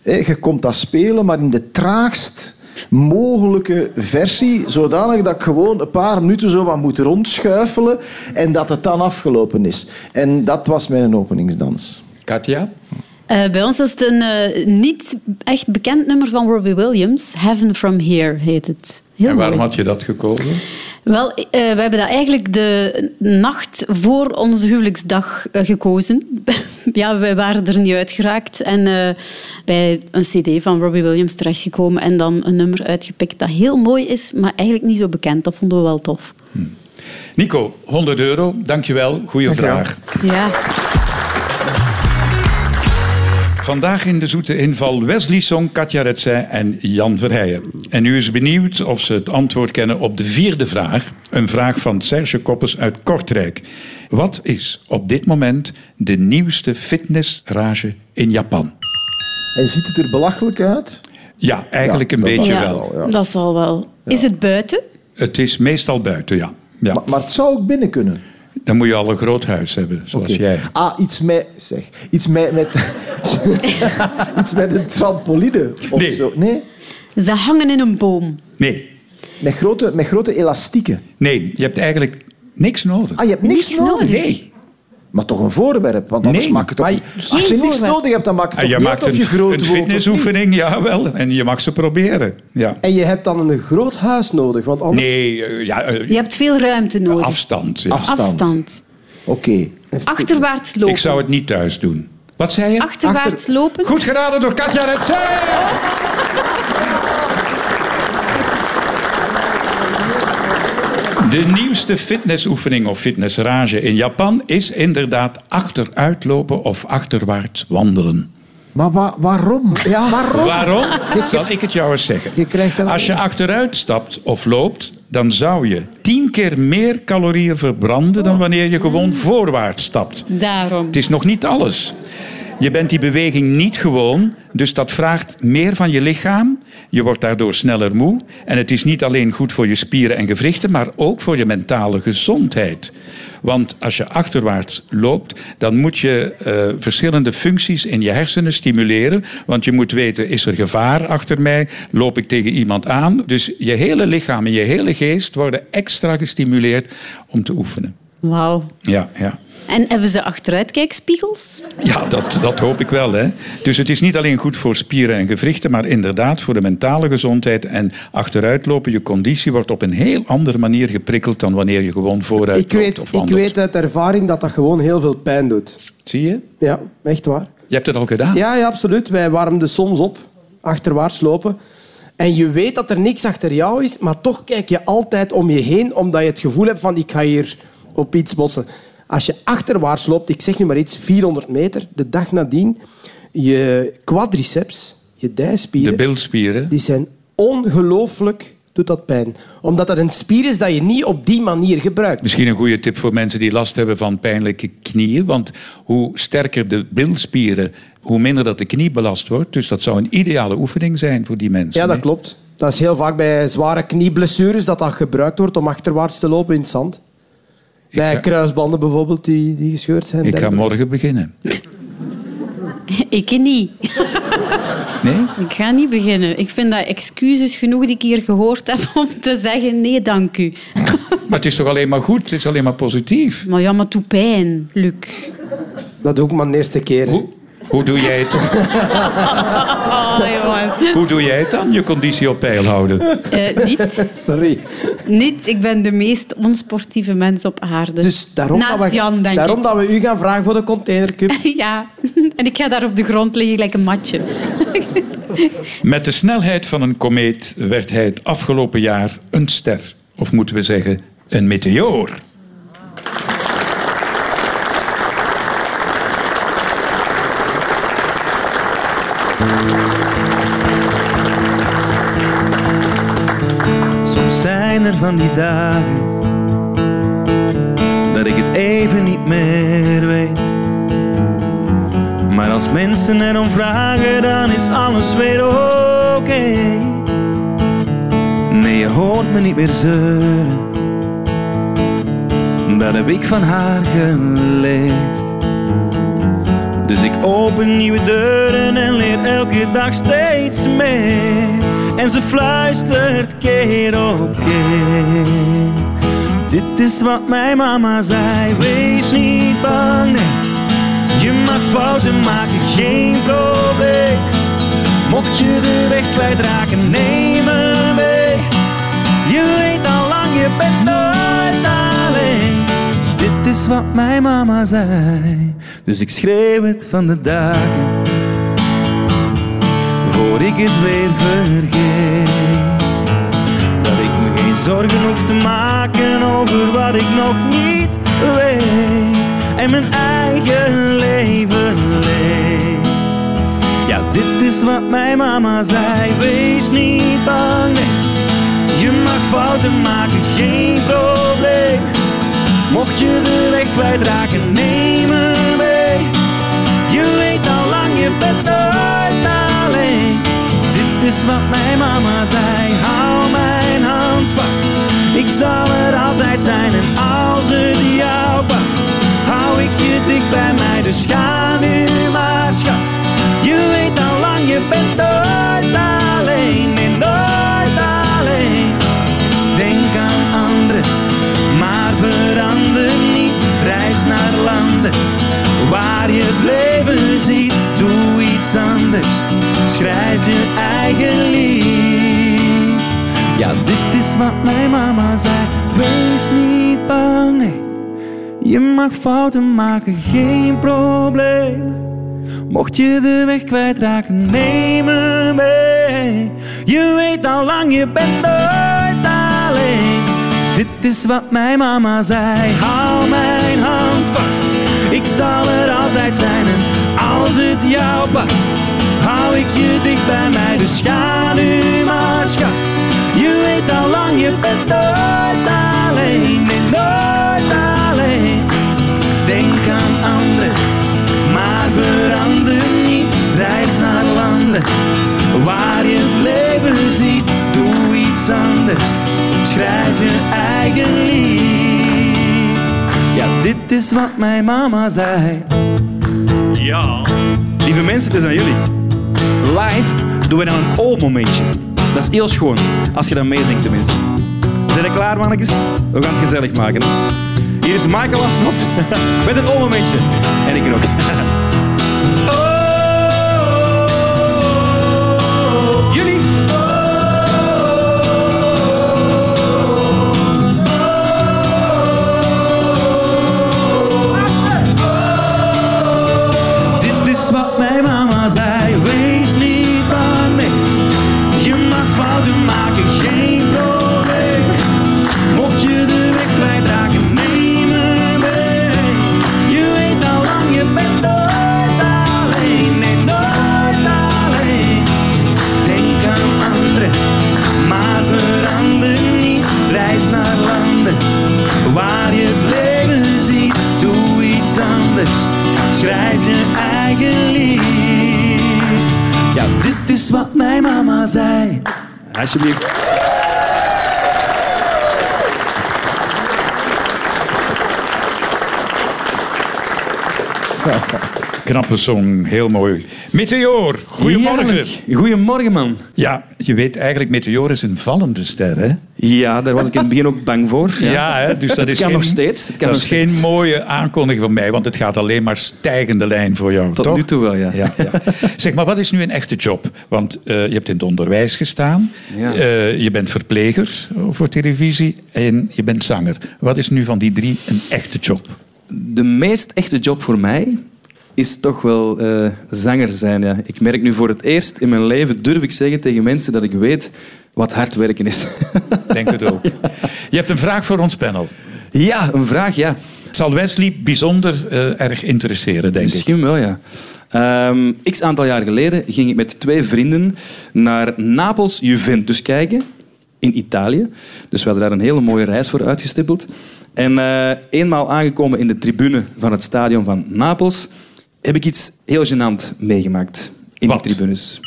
hè, je komt dat spelen, maar in de traagst mogelijke versie, zodanig dat ik gewoon een paar minuten zo wat moet rondschuifelen en dat het dan afgelopen is. En dat was mijn openingsdans.
Katja?
Eh, bij ons was het een eh, niet echt bekend nummer van Robbie Williams. Heaven From Here heet het. Heel
en waarom
mooi.
had je dat gekozen?
Wel, eh, we hebben dat eigenlijk de nacht voor onze huwelijksdag eh, gekozen. ja, wij waren er niet uitgeraakt en eh, bij een cd van Robbie Williams terechtgekomen en dan een nummer uitgepikt dat heel mooi is, maar eigenlijk niet zo bekend. Dat vonden we wel tof.
Nico, 100 euro. Dankjewel. Goeie
Dankjewel.
vraag.
Ja.
Vandaag in de zoete inval Wesley Song, Katja Retzij en Jan Verheijen. En u is benieuwd of ze het antwoord kennen op de vierde vraag. Een vraag van Serge Koppers uit Kortrijk. Wat is op dit moment de nieuwste fitnessrage in Japan?
En ziet het er belachelijk uit?
Ja, eigenlijk
Ja,
een
dat-
beetje
ja,
wel.
dat zal wel. Is het buiten?
Het is meestal buiten, ja. ja.
Maar, maar het zou ook binnen kunnen.
Dan moet je al een groot huis hebben, zoals
Oké.
jij.
Ah, iets met... Zeg, iets met... met iets met een trampoline of
Nee.
zo. Nee,
Ze hangen in een boom.
Nee,
met grote, met grote elastieken.
nee, je hebt eigenlijk niks nodig.
Ah, je hebt niks,
Niks
nodig.
nodig.
Nee,
Maar toch een voorwerp, want anders
Nee.
maakt het
Maar
toch... Als je niks
voorwerp.
nodig hebt, dan maakt het
en
toch
je
niet
maakt
uit
een,
of je groot
een
wordt of niet.
fitnessoefening, jawel, en je mag ze proberen. Ja.
En je hebt dan een groot huis nodig, want anders...
Nee, eh, ja, eh,
Je hebt veel ruimte nodig.
afstand. ja.
Afstand.
Afstand.
Oké.
Achterwaarts lopen.
Ik zou het niet thuis doen. Wat zei je?
Achterwaarts
achter-
lopen.
Goed geraden door Katja Retzij. De nieuwste fitnessoefening of fitnessrage in Japan is inderdaad achteruitlopen of achterwaarts wandelen.
Maar wa- waarom? Ja, waarom?
Waarom? Zal ik het jou eens zeggen.
Oh. Je krijgt dan-
Als je achteruit stapt of loopt, dan zou je tien keer meer calorieën verbranden dan wanneer je gewoon voorwaarts stapt.
Daarom.
Het is nog niet alles. Je bent die beweging niet gewoon, dus dat vraagt meer van je lichaam. Je wordt daardoor sneller moe. En het is niet alleen goed voor je spieren en gewrichten, maar ook voor je mentale gezondheid. Want als je achterwaarts loopt, dan moet je eh, verschillende functies in je hersenen stimuleren. Want je moet weten, is er gevaar achter mij? Loop ik tegen iemand aan? Dus je hele lichaam en je hele geest worden extra gestimuleerd om te oefenen.
Wauw.
Ja, ja.
En hebben ze achteruitkijkspiegels?
Ja, dat, dat hoop ik wel. Hè. Dus het is niet alleen goed voor spieren en gewrichten, maar inderdaad voor de mentale gezondheid. En achteruitlopen, je conditie wordt op een heel andere manier geprikkeld dan wanneer je gewoon vooruit
Ik
loopt
weet,
of
ik
wandelt.
weet uit ervaring dat dat gewoon heel veel pijn doet.
Zie je?
Ja, echt waar.
Je hebt het al gedaan.
Ja, ja, absoluut. Wij warmden soms op, achterwaarts lopen. En je weet dat er niks achter jou is, maar toch kijk je altijd om je heen, omdat je het gevoel hebt van ik ga hier op iets botsen. Als je achterwaarts loopt, ik zeg nu maar iets, 400 meter, de dag nadien, je quadriceps, je
de
dijspieren,
bilspieren.
die zijn ongelooflijk, doet dat pijn. Omdat dat een spier is dat je niet op die manier gebruikt.
Misschien een goede tip voor mensen die last hebben van pijnlijke knieën. Want hoe sterker de bilspieren, hoe minder dat de knie belast wordt. Dus dat zou een ideale oefening zijn voor die mensen.
Ja, dat
hè?
klopt. Dat is heel vaak bij zware knieblessures dat dat gebruikt wordt om achterwaarts te lopen in het zand. Bij
ga-
kruisbanden bijvoorbeeld die, die gescheurd zijn.
Ik ga
Dergelijke.
morgen beginnen.
Ik niet.
Nee?
Ik ga niet beginnen. Ik vind dat excuses genoeg die ik hier gehoord heb om te zeggen nee, dank u.
Maar het is toch alleen maar goed? Het is alleen maar positief?
Maar ja, maar toe pijn, Luc.
Dat doe ik maar de eerste keer. hè.
Hoe, hoe doe jij het?
Oh, jongen.
Hoe doe jij het dan, je conditie op peil houden?
Eh, niet,
Sorry.
niet. Ik ben de meest onsportieve mens op aarde.
Dus daarom,
Naast
dat, we,
Jan, denk
daarom dat we u gaan vragen voor de containercup.
ik. Ja, en ik ga daar op de grond liggen gelijk een matje.
Met de snelheid van een komeet werd hij het afgelopen jaar een ster. Of moeten we zeggen, een meteoor.
Soms zijn er van die dagen dat ik het even niet meer weet. Maar als mensen erom vragen, dan is alles weer oké. Nee, je hoort me niet meer zeuren. Dat heb ik van haar geleerd. Dus ik open nieuwe deuren en leer elke dag steeds meer. En ze fluistert keer op keer. Dit is wat mijn mama zei, wees niet bang, nee. Je mag fouten maken, geen probleem. Mocht je de weg kwijtraken, neem me mee. Je weet al lang, je bent nooit alleen. Dit is wat mijn mama zei, dus ik schreeuw het van de daken. Voor ik het weer vergeet, dat ik me geen zorgen hoef te maken over wat ik nog niet weet. En mijn eigen leven leef. Ja, dit is wat mijn mama zei, wees niet bang, nee. Je mag fouten maken, geen probleem. Mocht je de weg kwijtraken, neem me mee. Je weet al lang, je bent nooit alleen. Dit is wat mijn mama zei, hou mijn hand vast. Ik zal er altijd zijn en als het jou past, hou ik je dicht bij mij. Dus ga nu maar, schat. Je weet al lang, je bent nooit alleen. Nee, nooit alleen. Denk aan anderen, maar verander niet. Reis naar landen waar je het leven ziet. Doe iets anders, schrijf je eigen lied. Ja, dit is wat mijn mama zei. Wees niet bang, nee. Je mag fouten maken, geen probleem. Mocht je de weg kwijtraken, neem me mee. Je weet al lang, je bent nooit alleen. Dit is wat mijn mama zei. Hou mijn hand vast, ik zal er altijd zijn. En als het jou past, hou ik je dicht bij mij. Dus ga nu maar, schat. Je weet al lang, je bent nooit alleen. Nee, nooit alleen. Denk aan anderen maar verander niet. Reis naar landen waar je het leven ziet. Doe iets anders, schrijf je eigen lied. Ja, dit is wat mijn mama zei. Ja, lieve mensen, het is aan jullie. Live doen we dan een O-momentje. Dat is heel schoon, als je dan meezingt tenminste. Zijn we klaar, mannetjes? We gaan het gezellig maken. Hier is Michael Asnot met een O-momentje. En ik er ook. Oh, jullie. Dit is wat mijn mama zei, wees niet bang, nee. Je mag fouten maken, geen probleem. Mocht je de weg kwijtraken, neem me mee. Je weet al lang, je bent nooit alleen, nee, nooit alleen. Denk aan anderen, maar verander niet. Reis naar landen waar je het leven ziet. Doe iets anders, schrijf je eigen lied. Ja, dit is wat mijn mama zei. Alsjeblieft.
Knappe song, heel mooi. Meteor, goedemorgen.
Heerlijk. Goedemorgen, man.
Ja, je weet eigenlijk, Meteor is een vallende ster, hè?
Ja, daar was ik in het begin ook bang voor.
Ja, hè? dus dat
Het
is
kan
geen,
nog steeds, het kan
dat is
nog steeds.
geen mooie aankondiging van mij, want het gaat alleen maar stijgende lijn voor jou,
Tot
toch?
nu toe wel, ja.
Ja, ja. Zeg maar, wat is nu een echte job? Want eh, je hebt in het onderwijs gestaan,
Ja.
eh, je bent verpleger voor televisie en je bent zanger. Wat is nu van die drie een echte job?
De meest echte job voor mij is toch wel eh, zanger zijn. Ja. Ik merk nu voor het eerst in mijn leven, durf ik zeggen tegen mensen, dat ik weet wat hard werken is.
Denk het ook. Je hebt een vraag voor ons panel.
ja, een vraag, ja.
Het zal Wesley bijzonder eh, erg interesseren, denk ik.
Misschien wel, ja. Ehm, X aantal jaar geleden ging ik met twee vrienden naar Napels Juventus kijken in Italië. Dus we hadden daar een hele mooie reis voor uitgestippeld. En eh, eenmaal aangekomen in de tribune van het stadion van Napels heb ik iets heel gênant meegemaakt in
Wat?
die tribunes.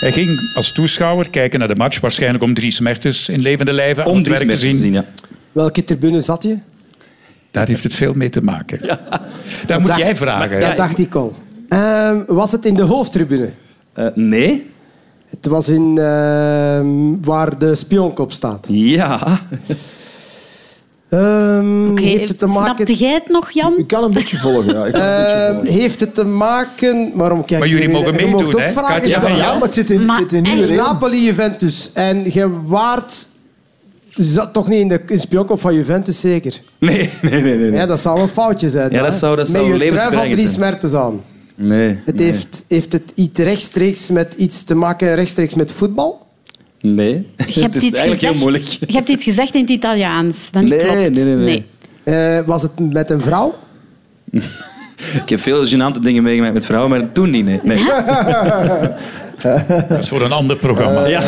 Hij ging als toeschouwer kijken naar de match, waarschijnlijk om drie smertes in levende lijven aan
Om
het
drie
werk te
smertes te
zien.
zien, ja.
Welke tribune zat je?
Daar heeft het veel mee te maken. Daar moet
Dacht-
jij vragen.
Dat dacht ik al. Ehm, was het in de hoofdtribune?
Eh, nee?
Het was in ehm, waar de spionkop staat.
Ja.
Ehm,
Oké,
heeft het te maken?
Snapte jij het nog, Jan?
Ik kan een beetje volgen, ja. Ik kan een beetje
Ehm,
volgen.
heeft het te maken? Waarom kijk
Maar jullie mogen
mee
meedoen, hè?
Vragen
Katja
stellen.
en
Ja, maar het zit in,
Maar
het zit in
echt?
nieuwe regels.
Napoli Juventus en je waart zat toch niet in de in spionkop van Juventus zeker?
Nee, nee, nee. nee, nee.
Ja, dat zou een foutje zijn.
Ja,
dan,
dat
hè?
zou- dat zou
Met je trui van
levensbedreigend
drie
zijn.
smertes aan.
nee,
Het
nee.
heeft, heeft het iets rechtstreeks met iets te maken, rechtstreeks met voetbal?
Nee.
Je hebt
het is
iets
eigenlijk
gezegd-
heel moeilijk.
Je hebt iets gezegd in het Italiaans. Dat niet
Nee,
klopt.
nee, nee, nee.
Eh, was het met een vrouw?
Ik heb veel gênante dingen meegemaakt met vrouwen, maar toen niet, nee. nee.
Dat is voor een ander programma.
Eh, Ja.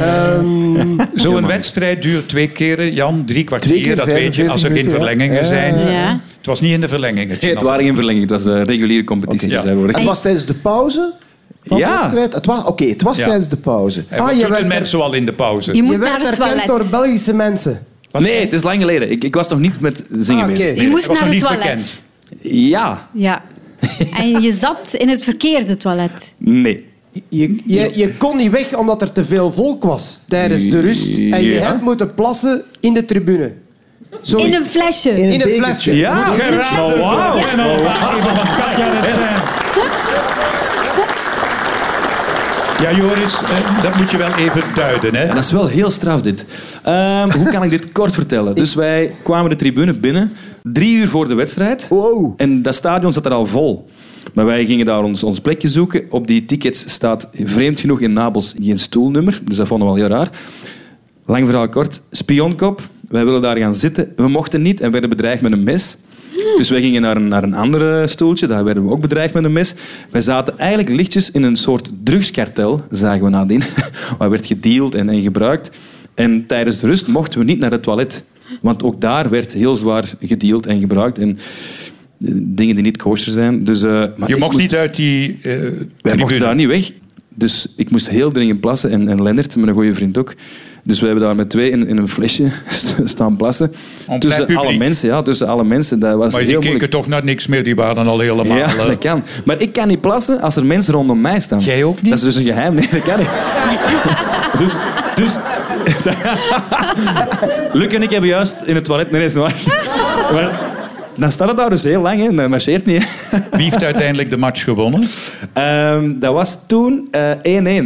Ehm,
Zo'n wedstrijd duurt twee keren, Jan, drie kwartier.
Twee keer
dat weet je, als er geen
45 minuten, ja.
verlengingen
Ja.
zijn.
Ja.
Het was niet in de verlengingen.
Nee, het waren geen verlengingen. Het was een reguliere competitie.
Oké.
dus hij wordt-
Het was tijdens de pauze van
Ja.
de wedstrijd? Het was, Oké, het was
Ja.
tijdens de pauze.
En wat
Ah, je
doet
werd
een
er-
mens zoal in de pauze?
Je moet
je
naar
werd
het
herkend
toilet.
door Belgische mensen.
Was-
Nee, het is lang geleden. Ik, ik was nog niet met zingen
Ah, oké.
bezig.
Je moest
was
naar
nog
het
niet
toilet.
bekend.
Ja,
Ja. En je zat in het verkeerde toilet.
nee.
Je, je, je kon niet weg omdat er te veel volk was tijdens de rust. En je
Ja.
hebt moeten plassen in de tribune.
In een flesje.
In
In
een
een
bekertje.
flesje.
Ja,
Geraden.
Oh, wauw.
En dan vraag ik nog wat Katja net zei. Ja, Joris, eh, dat moet je wel even duiden. Hè?
Ja, dat is wel heel straf dit. Ehm, hoe kan ik dit kort vertellen? Dus wij kwamen de tribune binnen drie uur voor de wedstrijd.
Wow.
En dat stadion zat er al vol. Maar wij gingen daar ons, ons plekje zoeken. Op die tickets staat vreemd genoeg in Napels geen stoelnummer. Dus dat vonden we al heel raar. Lang verhaal kort. Spionkop. Wij willen daar gaan zitten. We mochten niet en werden bedreigd met een mes. Dus wij gingen naar een, naar een andere stoeltje. Daar werden we ook bedreigd met een mes. Wij zaten eigenlijk lichtjes in een soort drugskartel, zagen we nadien. Waar werd gedeeld en, en gebruikt. En tijdens de rust mochten we niet naar het toilet. Want ook daar werd heel zwaar gedeeld en gebruikt. En eh, dingen die niet kosher zijn. Dus, eh, maar
Je
ik
mocht
moest-
niet uit die eh
wij
tribune.
mochten daar niet weg. Dus ik moest heel dringend plassen. En, en Lennart, mijn goede vriend ook. Dus we hebben daar met twee in, in een flesje staan plassen.
plein
Tussen
publiek.
alle mensen, ja. Tussen alle mensen. Dat was
Maar
heel
die
moeilijk.
keken toch naar niks meer. Die waren al helemaal...
Ja,
eh,
dat kan. Maar ik kan niet plassen als er mensen rondom mij staan.
Jij ook niet?
Dat is dus een geheim. Nee, dat kan niet. dus... dus Luc en ik hebben juist in het toilet... Nee, dat is niet waar. Maar dan staat het daar dus heel lang, hè. Dat marcheert niet, hè.
Wie heeft uiteindelijk de match gewonnen?
Ehm, dat was toen eh, 1-1.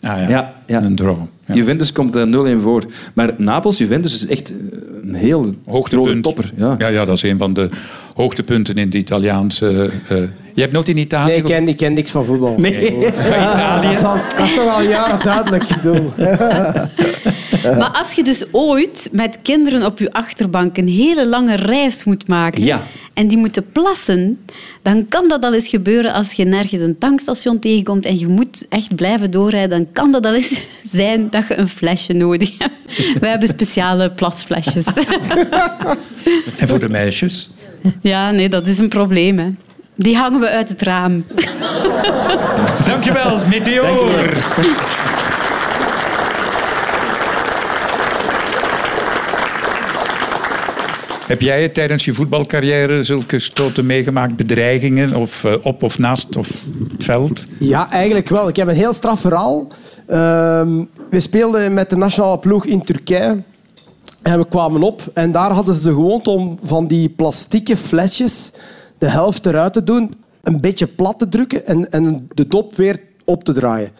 Ah ja,
Ja, ja.
een droom. Ja.
Juventus komt eh, 0-1 voor. Maar Napels, Juventus is echt eh, een heel grote
Hoogtepunt.
topper. Ja.
Ja, ja, dat is een van de hoogtepunten in de Italiaanse... eh, eh, je hebt nooit in Italië...
Nee, ik
ge-
ken, ik ken niks van voetbal. Ah,
Nee.
Van Italië?
Dat is, al- dat is toch al jaren duidelijk. ik bedoel.
Maar als je dus ooit met kinderen op je achterbank een hele lange reis moet maken
Ja.
en die moeten plassen, dan kan dat al eens gebeuren als je nergens een tankstation tegenkomt en je moet echt blijven doorrijden. Dan kan dat al eens zijn dat je een flesje nodig hebt. Wij hebben speciale plasflesjes.
En voor de meisjes?
Ja, nee, dat is een probleem. Hè. Die hangen we uit het raam.
Dankjewel, Meteor. Heb jij tijdens je voetbalcarrière zulke stoten meegemaakt? Bedreigingen of eh, op of naast of het veld?
Ja, eigenlijk wel. Ik heb een heel straf verhaal. Ehm, we speelden met de nationale ploeg in Turkije. En we kwamen op. En daar hadden ze de gewoonte om van die plastieke flesjes de helft eruit te doen, een beetje plat te drukken en, en de dop weer op te draaien.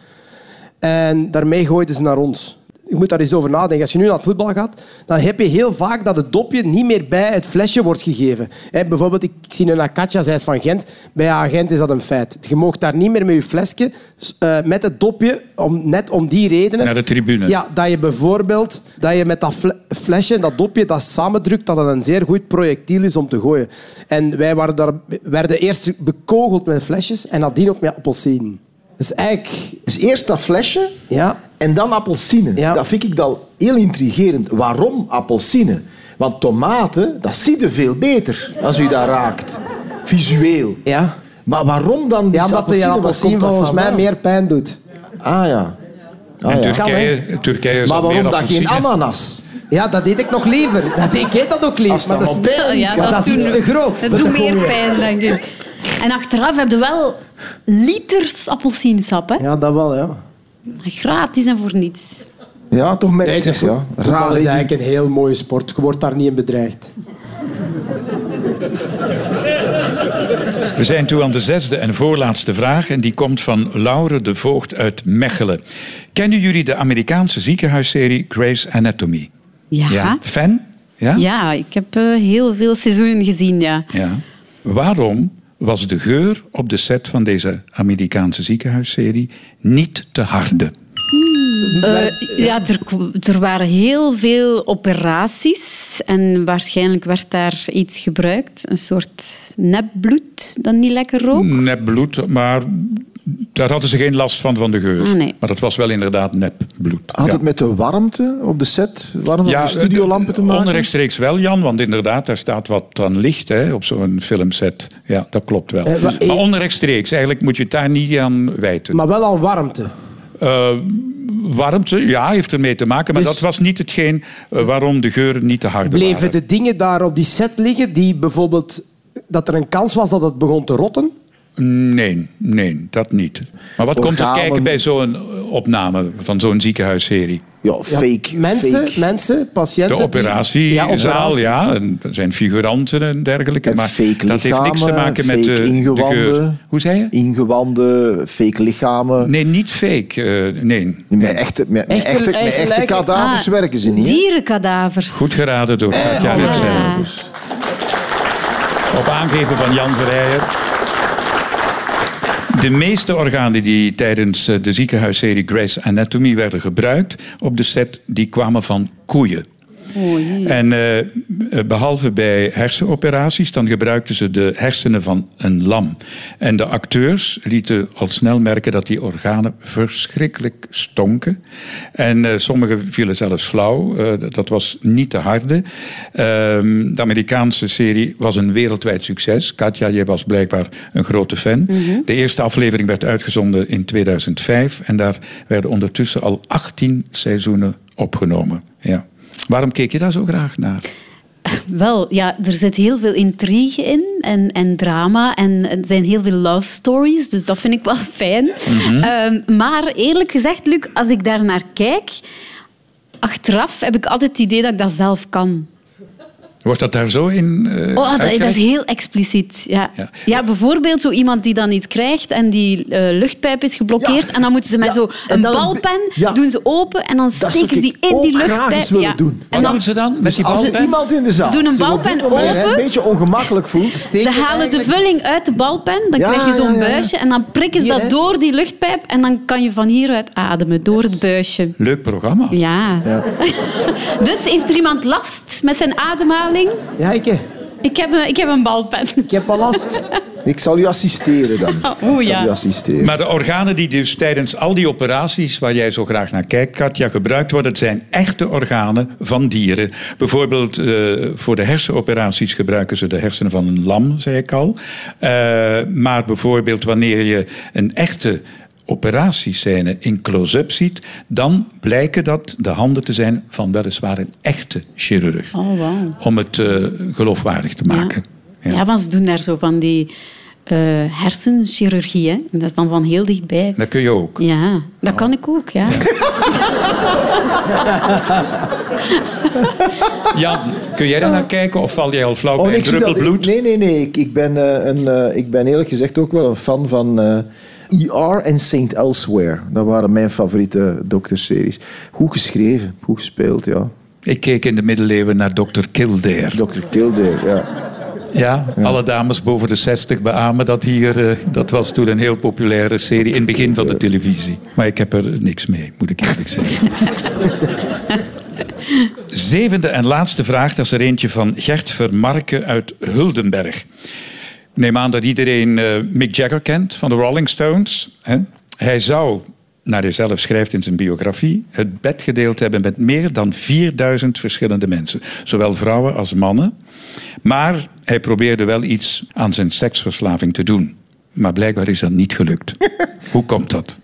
En daarmee gooiden ze naar ons. je moet daar eens over nadenken. Als je nu naar het voetbal gaat, dan heb je heel vaak dat het dopje niet meer bij het flesje wordt gegeven. Hè, bijvoorbeeld, ik, ik zie nu naar Katja, zij is van Gent. Bij haar agent is dat een feit. Je mag daar niet meer met je flesje, s- eh, met het dopje, om, net om die redenen...
Naar de tribune.
Ja, dat je bijvoorbeeld dat je met dat fle- flesje en dat dopje dat samendrukt, dat dat een zeer goed projectiel is om te gooien. En wij waren daar, werden eerst bekogeld met flesjes en nadien ook met appelsinen. Dus eigenlijk...
Dus eerst dat flesje
Ja,
en dan appelsine.
Ja.
Dat vind ik dan heel intrigerend. Waarom appelsine? Want tomaten, dat ziet je veel beter als u daar raakt. Visueel.
ja.
Maar waarom dan die
Ja, omdat de
appelsine? Waar
appelsien
komt dat
volgens mij
vandaan?
meer pijn doet.
Ah ja. Ah,
En
ja.
Turkije, Turkije zal
Maar waarom
meer
dan geen
appelsine-
ananas?
Ja, dat deed ik nog liever. Dat deed, ik deed dat ook
Als
liever.
dat
Maar dat is,
op
Ja,
maar dat is
doet-
iets te groot.
Het
Dat
doet
is
meer
gewoon-
pijn, denk ik. En achteraf heb je wel liters appelsiensap. Hè?
Ja, dat wel, ja.
Gratis en voor niets.
Ja, toch merk je. ja.
Raar
Raar,
is
hè,
eigenlijk een heel mooie sport. Je wordt daar niet in bedreigd.
We zijn toe aan de zesde en voorlaatste vraag. En die komt van Laure de Voogd uit Mechelen. Kennen jullie de Amerikaanse ziekenhuisserie Grey's Anatomy?
Ja. Ja,
Fan? Ja?
ik heb eh, heel veel seizoenen gezien, ja.
Ja. Waarom was de geur op de set van deze Amerikaanse ziekenhuisserie niet te harde?
Eh, ja, er, k- er waren heel veel operaties en waarschijnlijk werd daar iets gebruikt. Een soort nepbloed dat niet lekker rook.
Mm.
Nep bloed, maar daar hadden ze geen last van, van de geur.
Ah, nee.
Maar dat was wel inderdaad nep bloed.
Had
Ja.
het met de warmte op de set, warm op de studiolampen te
eh,
maken?
Onrechtstreeks wel, Jan, want inderdaad, daar staat wat aan licht hè, op zo'n filmset. Ja, dat klopt wel. Dus,
Eh, wa-
maar onrechtstreeks, eigenlijk moet je het daar niet aan wijten.
Maar wel aan warmte.
Eh, warmte, ja, heeft ermee te maken, maar
Dus-
dat was niet hetgeen eh, waarom de geuren niet te hard
Bleven
waren.
de dingen daar op die set liggen die bijvoorbeeld... Dat er een kans was dat het begon te rotten?
Nee, nee, dat niet. Maar wat komt er
Organen.
kijken bij zo'n eh, opname van zo'n ziekenhuisserie?
Ja, fake.
Mensen,
fake.
mensen patiënten...
De
die- ja,
operatiezaal,
operatie.
ja. En er zijn figuranten en dergelijke.
En
maar
fake
dat heeft niks te
lichamen,
maken met eh,
fake
de, de
ingewanden.
geur. Hoe zei je?
Ingewanden, fake lichamen.
Nee, niet fake. eh, nee.
Met echte, met, met
Echte-
echte, met
eigen
echte
lijken. Ah,
kadavers werken ze niet. hè?
Ah, Dierenkadavers.
Goed geraden door Katja Ritsen.
Ja.
Op aangeven van Jan Verheijen. De meeste organen die tijdens eh, de ziekenhuisserie Grey's Anatomy werden gebruikt op de set, die kwamen van koeien. En eh, behalve bij hersenoperaties, dan gebruikten ze de hersenen van een lam. En de acteurs lieten al snel merken dat die organen verschrikkelijk stonken. En eh, sommigen vielen zelfs flauw. Eh, dat- dat was niet te harde. Ehm, de Amerikaanse serie was een wereldwijd succes. Katja, jij was blijkbaar een grote fan. De eerste aflevering werd uitgezonden in 2005. En daar werden ondertussen al 18 seizoenen opgenomen. Ja. Waarom keek je daar zo graag naar?
Wel, ja, er zit heel veel intrigue in en, en drama. En er zijn heel veel love stories, dus dat vind ik wel fijn.
Mhm.
Ehm, maar eerlijk gezegd, Luc, als ik daar naar kijk, achteraf heb ik altijd het idee dat ik dat zelf kan.
Wordt dat daar zo in? eh,
Oh, dat, dat
uitgereikt?
is heel expliciet. Ja.
Ja.
Ja. bijvoorbeeld zo iemand die dan iets krijgt en die eh, luchtpijp is geblokkeerd. En dan moeten ze met
Ja,
zo
en
een
dan-
balpen,
ja.
doen ze open en dan
zou
steken ze
ik
die in die
ook graag
luchtpijp.
eens willen doen.
En
Wat
dan, Dus
doen ze dan met die
Als er
balpen?
iemand in de zaal
Ze doen een
zich op dit
balpen
moment
open.
een beetje ongemakkelijk voelt,
Steek
ze
het
halen de
eigenlijk-
vulling uit de balpen, dan
Ja,
krijg je zo'n
ja, ja, ja.
buisje en dan prikken ze
Hier,
dat
hè?
door die luchtpijp en dan kan je van hieruit ademen, door het buisje.
Leuk programma.
Ja. dus heeft er iemand last met zijn ademhaling?
Ja, ik,
Ik heb een, ik heb een balpen.
ik heb al last.
ik zal u assisteren dan. ik zal
Oh, ja.
u assisteren.
Maar de organen die dus tijdens al die operaties waar jij zo graag naar kijkt, Katja, gebruikt worden, dat zijn echte organen van dieren. Bijvoorbeeld eh, voor de hersenoperaties gebruiken ze de hersenen van een lam, zei ik al. Eh, maar bijvoorbeeld wanneer je een echte operatiescène in close-up ziet, dan blijken dat de handen te zijn van weliswaar een echte chirurg.
Oh, wauw.
Om het eh, geloofwaardig te maken.
Ja. Ja, want ze doen daar zo van die eh, hersenchirurgie. Hè? En dat is dan van heel dichtbij.
Dat kun je ook.
Ja, dat kan ik ook, ja.
Jan, kun jij daar naar kijken of val jij al flauw bij een
Oh, zie
druppel
dat-
bloed?
Nee, nee, nee. Ik, ik ben, eh, een, eh, ik ben eerlijk gezegd ook wel een fan van eh, ER en Saint Elsewhere. Dat waren mijn favoriete dokterseries. Goed geschreven, goed gespeeld, ja.
Ik keek in de middeleeuwen naar Dr. Kildare.
Dr. Kildare, ja.
Ja, alle dames boven de 60 beamen dat hier. eh, dat was toen een heel populaire serie in het begin van de televisie. Maar ik heb er niks mee, moet ik eerlijk zeggen. Zevende en laatste vraag, dat is er eentje van Gert Vermarken uit Huldenberg. Ik neem aan dat iedereen eh, Mick Jagger kent van de Rolling Stones. Hè? Hij zou, naar hij zelf schrijft in zijn biografie, het bed gedeeld hebben met meer dan 4000 verschillende mensen. Zowel vrouwen als mannen. Maar hij probeerde wel iets aan zijn seksverslaving te doen. Maar blijkbaar is dat niet gelukt. Hoe komt dat?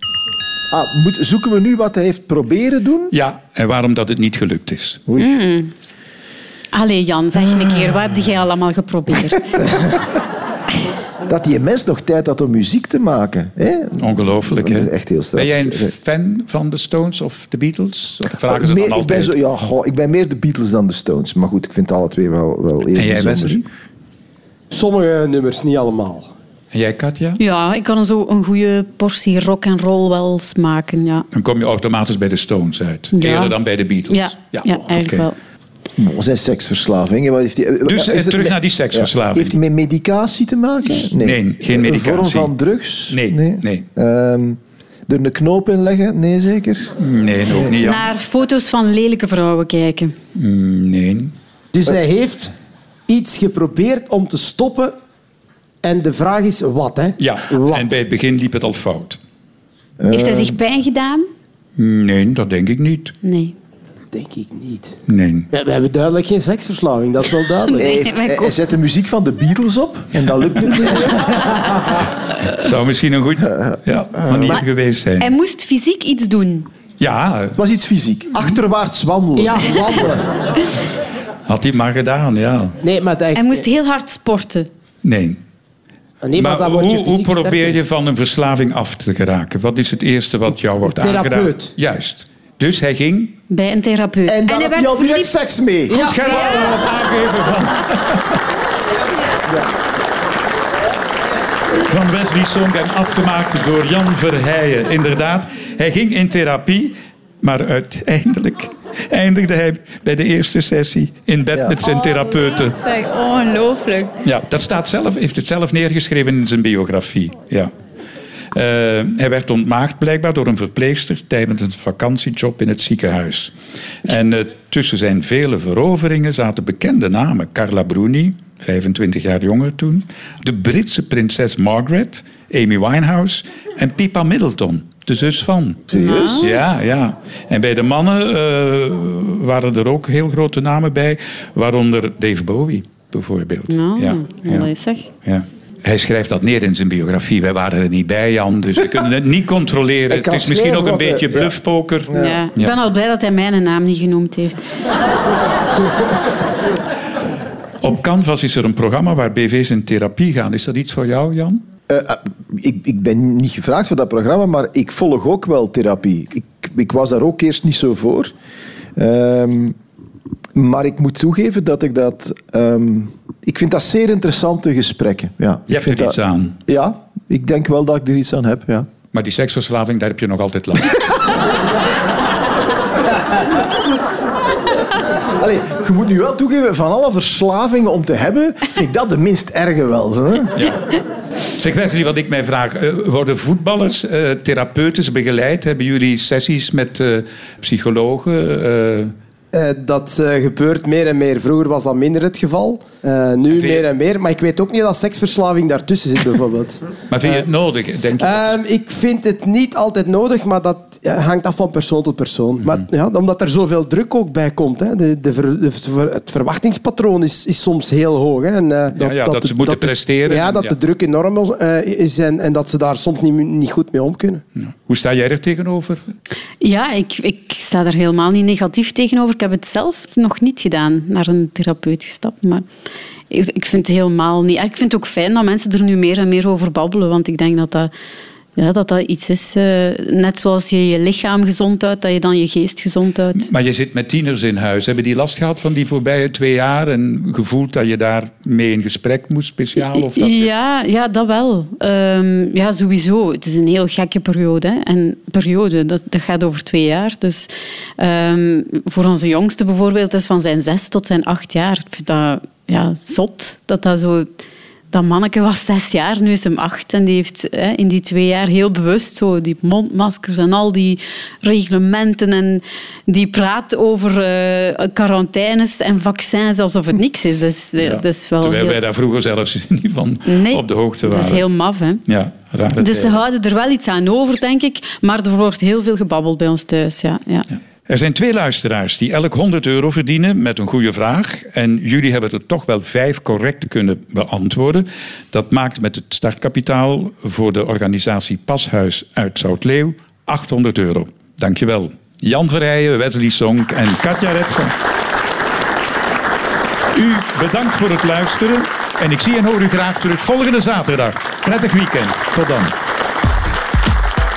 Ah, moet, zoeken we nu wat hij heeft proberen doen?
Ja, en waarom dat het niet gelukt is.
Allee Jan, zeg een keer, wat heb jij allemaal geprobeerd?
Dat die mens nog tijd had om muziek te maken. Hè?
Ongelooflijk, hè?
Dat is echt heel straf.
Ben jij een
Eh,
fan van de Stones of de Beatles? Dat vragen ze
meer-
dan
ik, ben
altijd.
zo, ja, goh, ik ben meer de Beatles dan de Stones. Maar goed, ik vind alle twee wel, wel even
En jij,
bijzonder.
Wesley?
Sommige nummers, niet allemaal.
En jij, Katja?
ja, ik kan zo een goede portie rock en roll wel smaken, ja.
Dan kom je automatisch bij de Stones uit.
Ja.
Eerder dan bij de Beatles.
Ja, ja, eigenlijk
oké.
wel.
Oh, zijn seksverslaving. hè, Wat heeft die,
Dus, eh,
is het
terug
met-
naar die seksverslaving.
Heeft hij met medicatie te maken?
Nee, geen medicatie.
Een vorm van drugs?
Nee, nee.
Ehm, er een knoop in leggen? Nee, zeker.
Nee, ook niet. Ja.
Naar foto's van lelijke vrouwen kijken.
Nou.
Nee.
Dus hij heeft iets geprobeerd om te stoppen. En de vraag is wat, hè?
Ja,
Wat?
en bij het begin liep het al fout.
Heeft
Eh.
hij zich pijn gedaan?
Nee, dat denk ik niet.
Nee.
Denk ik niet.
Nee.
We, we hebben duidelijk geen seksverslaving, dat is wel duidelijk.
Hij,
Nee,
heeft-
maar
hij-
kom.
hij zet de muziek van de Beatles op en dat lukt het niet.
Het zou misschien een goede ja, manier
Maar-
geweest zijn.
Hij moest fysiek iets doen.
Ja,
Het was iets fysiek. Achterwaarts wandelen.
Ja, wandelen.
had hij maar gedaan, ja.
Nee, maar dat,
Hij moest heel hard sporten.
Nee.
nee, maar
Maar
dan
hoe,
word je
hoe
fysiek
probeer
sterker.
je van een verslaving af te geraken? Wat is het eerste wat jou wordt
Therapeut.
aangedaan? Juist. Dus hij ging...
Bij een therapeut.
En dan
hij
heb je al direct
verliefd.
seks mee.
Goed gedaan,
Ja.
wat aangeven van... Van Wesley Song en afgemaakt door Jan Verheijen. Inderdaad, hij ging in therapie, maar uiteindelijk eindigde hij bij de eerste sessie in bed
Ja.
met zijn therapeuten.
Zeg, ongelooflijk.
Ja, dat staat zelf, heeft het zelf neergeschreven in zijn biografie. Ja. Eh, hij werd ontmaagd blijkbaar door een verpleegster tijdens een vakantiejob in het ziekenhuis. En eh, tussen zijn vele veroveringen zaten bekende namen. Carla Bruni, 25 jaar jonger toen. De Britse prinses Margaret, Amy Winehouse en Pippa Middleton, de zus van.
Serieus?
Ja, ja. En bij de mannen eh, waren er ook heel grote namen bij, waaronder Dave Bowie bijvoorbeeld.
Nou,
ja,
mooi zeg.
ja. Hij schrijft dat neer in zijn biografie. Wij waren er niet bij, Jan, dus we kunnen het niet controleren.
Ik kan
Het is misschien ook
schrijven
een
wat, eh,
beetje
ja.
bluffpoker.
Ja. Ik ben al blij dat hij mijn naam niet genoemd heeft.
Op Canvas is er een programma waar BV's in therapie gaan. Is dat iets voor jou, Jan?
Eh, eh, ik, ik ben niet gevraagd voor dat programma, maar ik volg ook wel therapie. Ik, ik was daar ook eerst niet zo voor. Ehm, maar ik moet toegeven dat ik dat... ehm, ik vind dat zeer interessante gesprekken. Ja,
Je
ik
hebt
vind
er iets
dat-
aan.
Ja, ik denk wel dat ik er iets aan heb, ja.
Maar die seksverslaving, daar heb je nog altijd last van.
Allee, je moet nu wel toegeven, van alle verslavingen om te hebben, vind ik dat de minst erge wel. Hè?
Zeg Wesley, wat ik mij vraag. eh, Worden voetballers, eh therapeuten begeleid? Hebben jullie sessies met eh, psychologen? eh,
Eh, dat eh, gebeurt meer en meer. Vroeger was dat minder het geval. Eh, nu
Vind je-
meer en meer. Maar ik weet ook niet dat seksverslaving daartussen zit, bijvoorbeeld.
maar vind je het
Eh.
nodig? Denk je?
Ehm, ik vind het niet altijd nodig, maar dat eh, hangt af van persoon tot persoon.
Mhm.
maar, ja, omdat er zoveel druk ook bij komt. Hè. De, de ver- de ver- het verwachtingspatroon is, is soms heel hoog. Hè. En, eh,
ja, dat
de-
ze moeten
dat de-
presteren.
Ja, dat
Ja.
de druk enorm eh, is en, en dat ze daar soms niet, niet goed mee om kunnen.
Hoe sta jij er tegenover?
Ja, ik, ik sta daar helemaal niet negatief tegenover. Ik heb het zelf nog niet gedaan, naar een therapeut gestapt. Maar ik, ik vind het helemaal niet... Ik vind het ook fijn dat mensen er nu meer en meer over babbelen. Want ik denk dat dat ja, dat dat iets is, eh, net zoals je je lichaam gezond houdt, dat je dan je geest gezond houdt.
Maar je zit met tieners in huis. Hebben die last gehad van die voorbije twee jaar en gevoeld dat je daar mee in gesprek moest speciaal? Of dat...
Ja, ja, dat wel. Ehm, ja, sowieso. Het is een heel gekke periode. Hè. En periode, dat, dat gaat over twee jaar. Dus ehm, voor onze jongste bijvoorbeeld is van zijn zes tot zijn acht jaar. Ik vind dat ja, zot dat dat zo... Dat manneke was zes jaar, nu is hem acht. En die heeft hè, in die twee jaar heel bewust zo die mondmaskers en al die reglementen. En die praat over eh, quarantaines en vaccins alsof het niks is. Dat is, eh,
Ja.
dat is wel
Terwijl
heel-
wij daar vroeger zelfs niet van
Nee,
op de hoogte
dat
waren.
is heel maf, hè?
Ja, raar.
Dus ze houden er wel iets aan over, denk ik. Maar er wordt heel veel gebabbeld bij ons thuis. Ja, ja.
Er zijn twee luisteraars die elk 100 euro verdienen met een goede vraag. En jullie hebben er toch wel vijf correct kunnen beantwoorden. Dat maakt met het startkapitaal voor de organisatie Pashuis uit Zoutleeuw 800 euro. Dankjewel. Jan Verrijen, Wesley Sonk en Katja Retsen. U bedankt voor het luisteren. En ik zie en hoor u graag terug volgende zaterdag. Prettig weekend. Tot dan.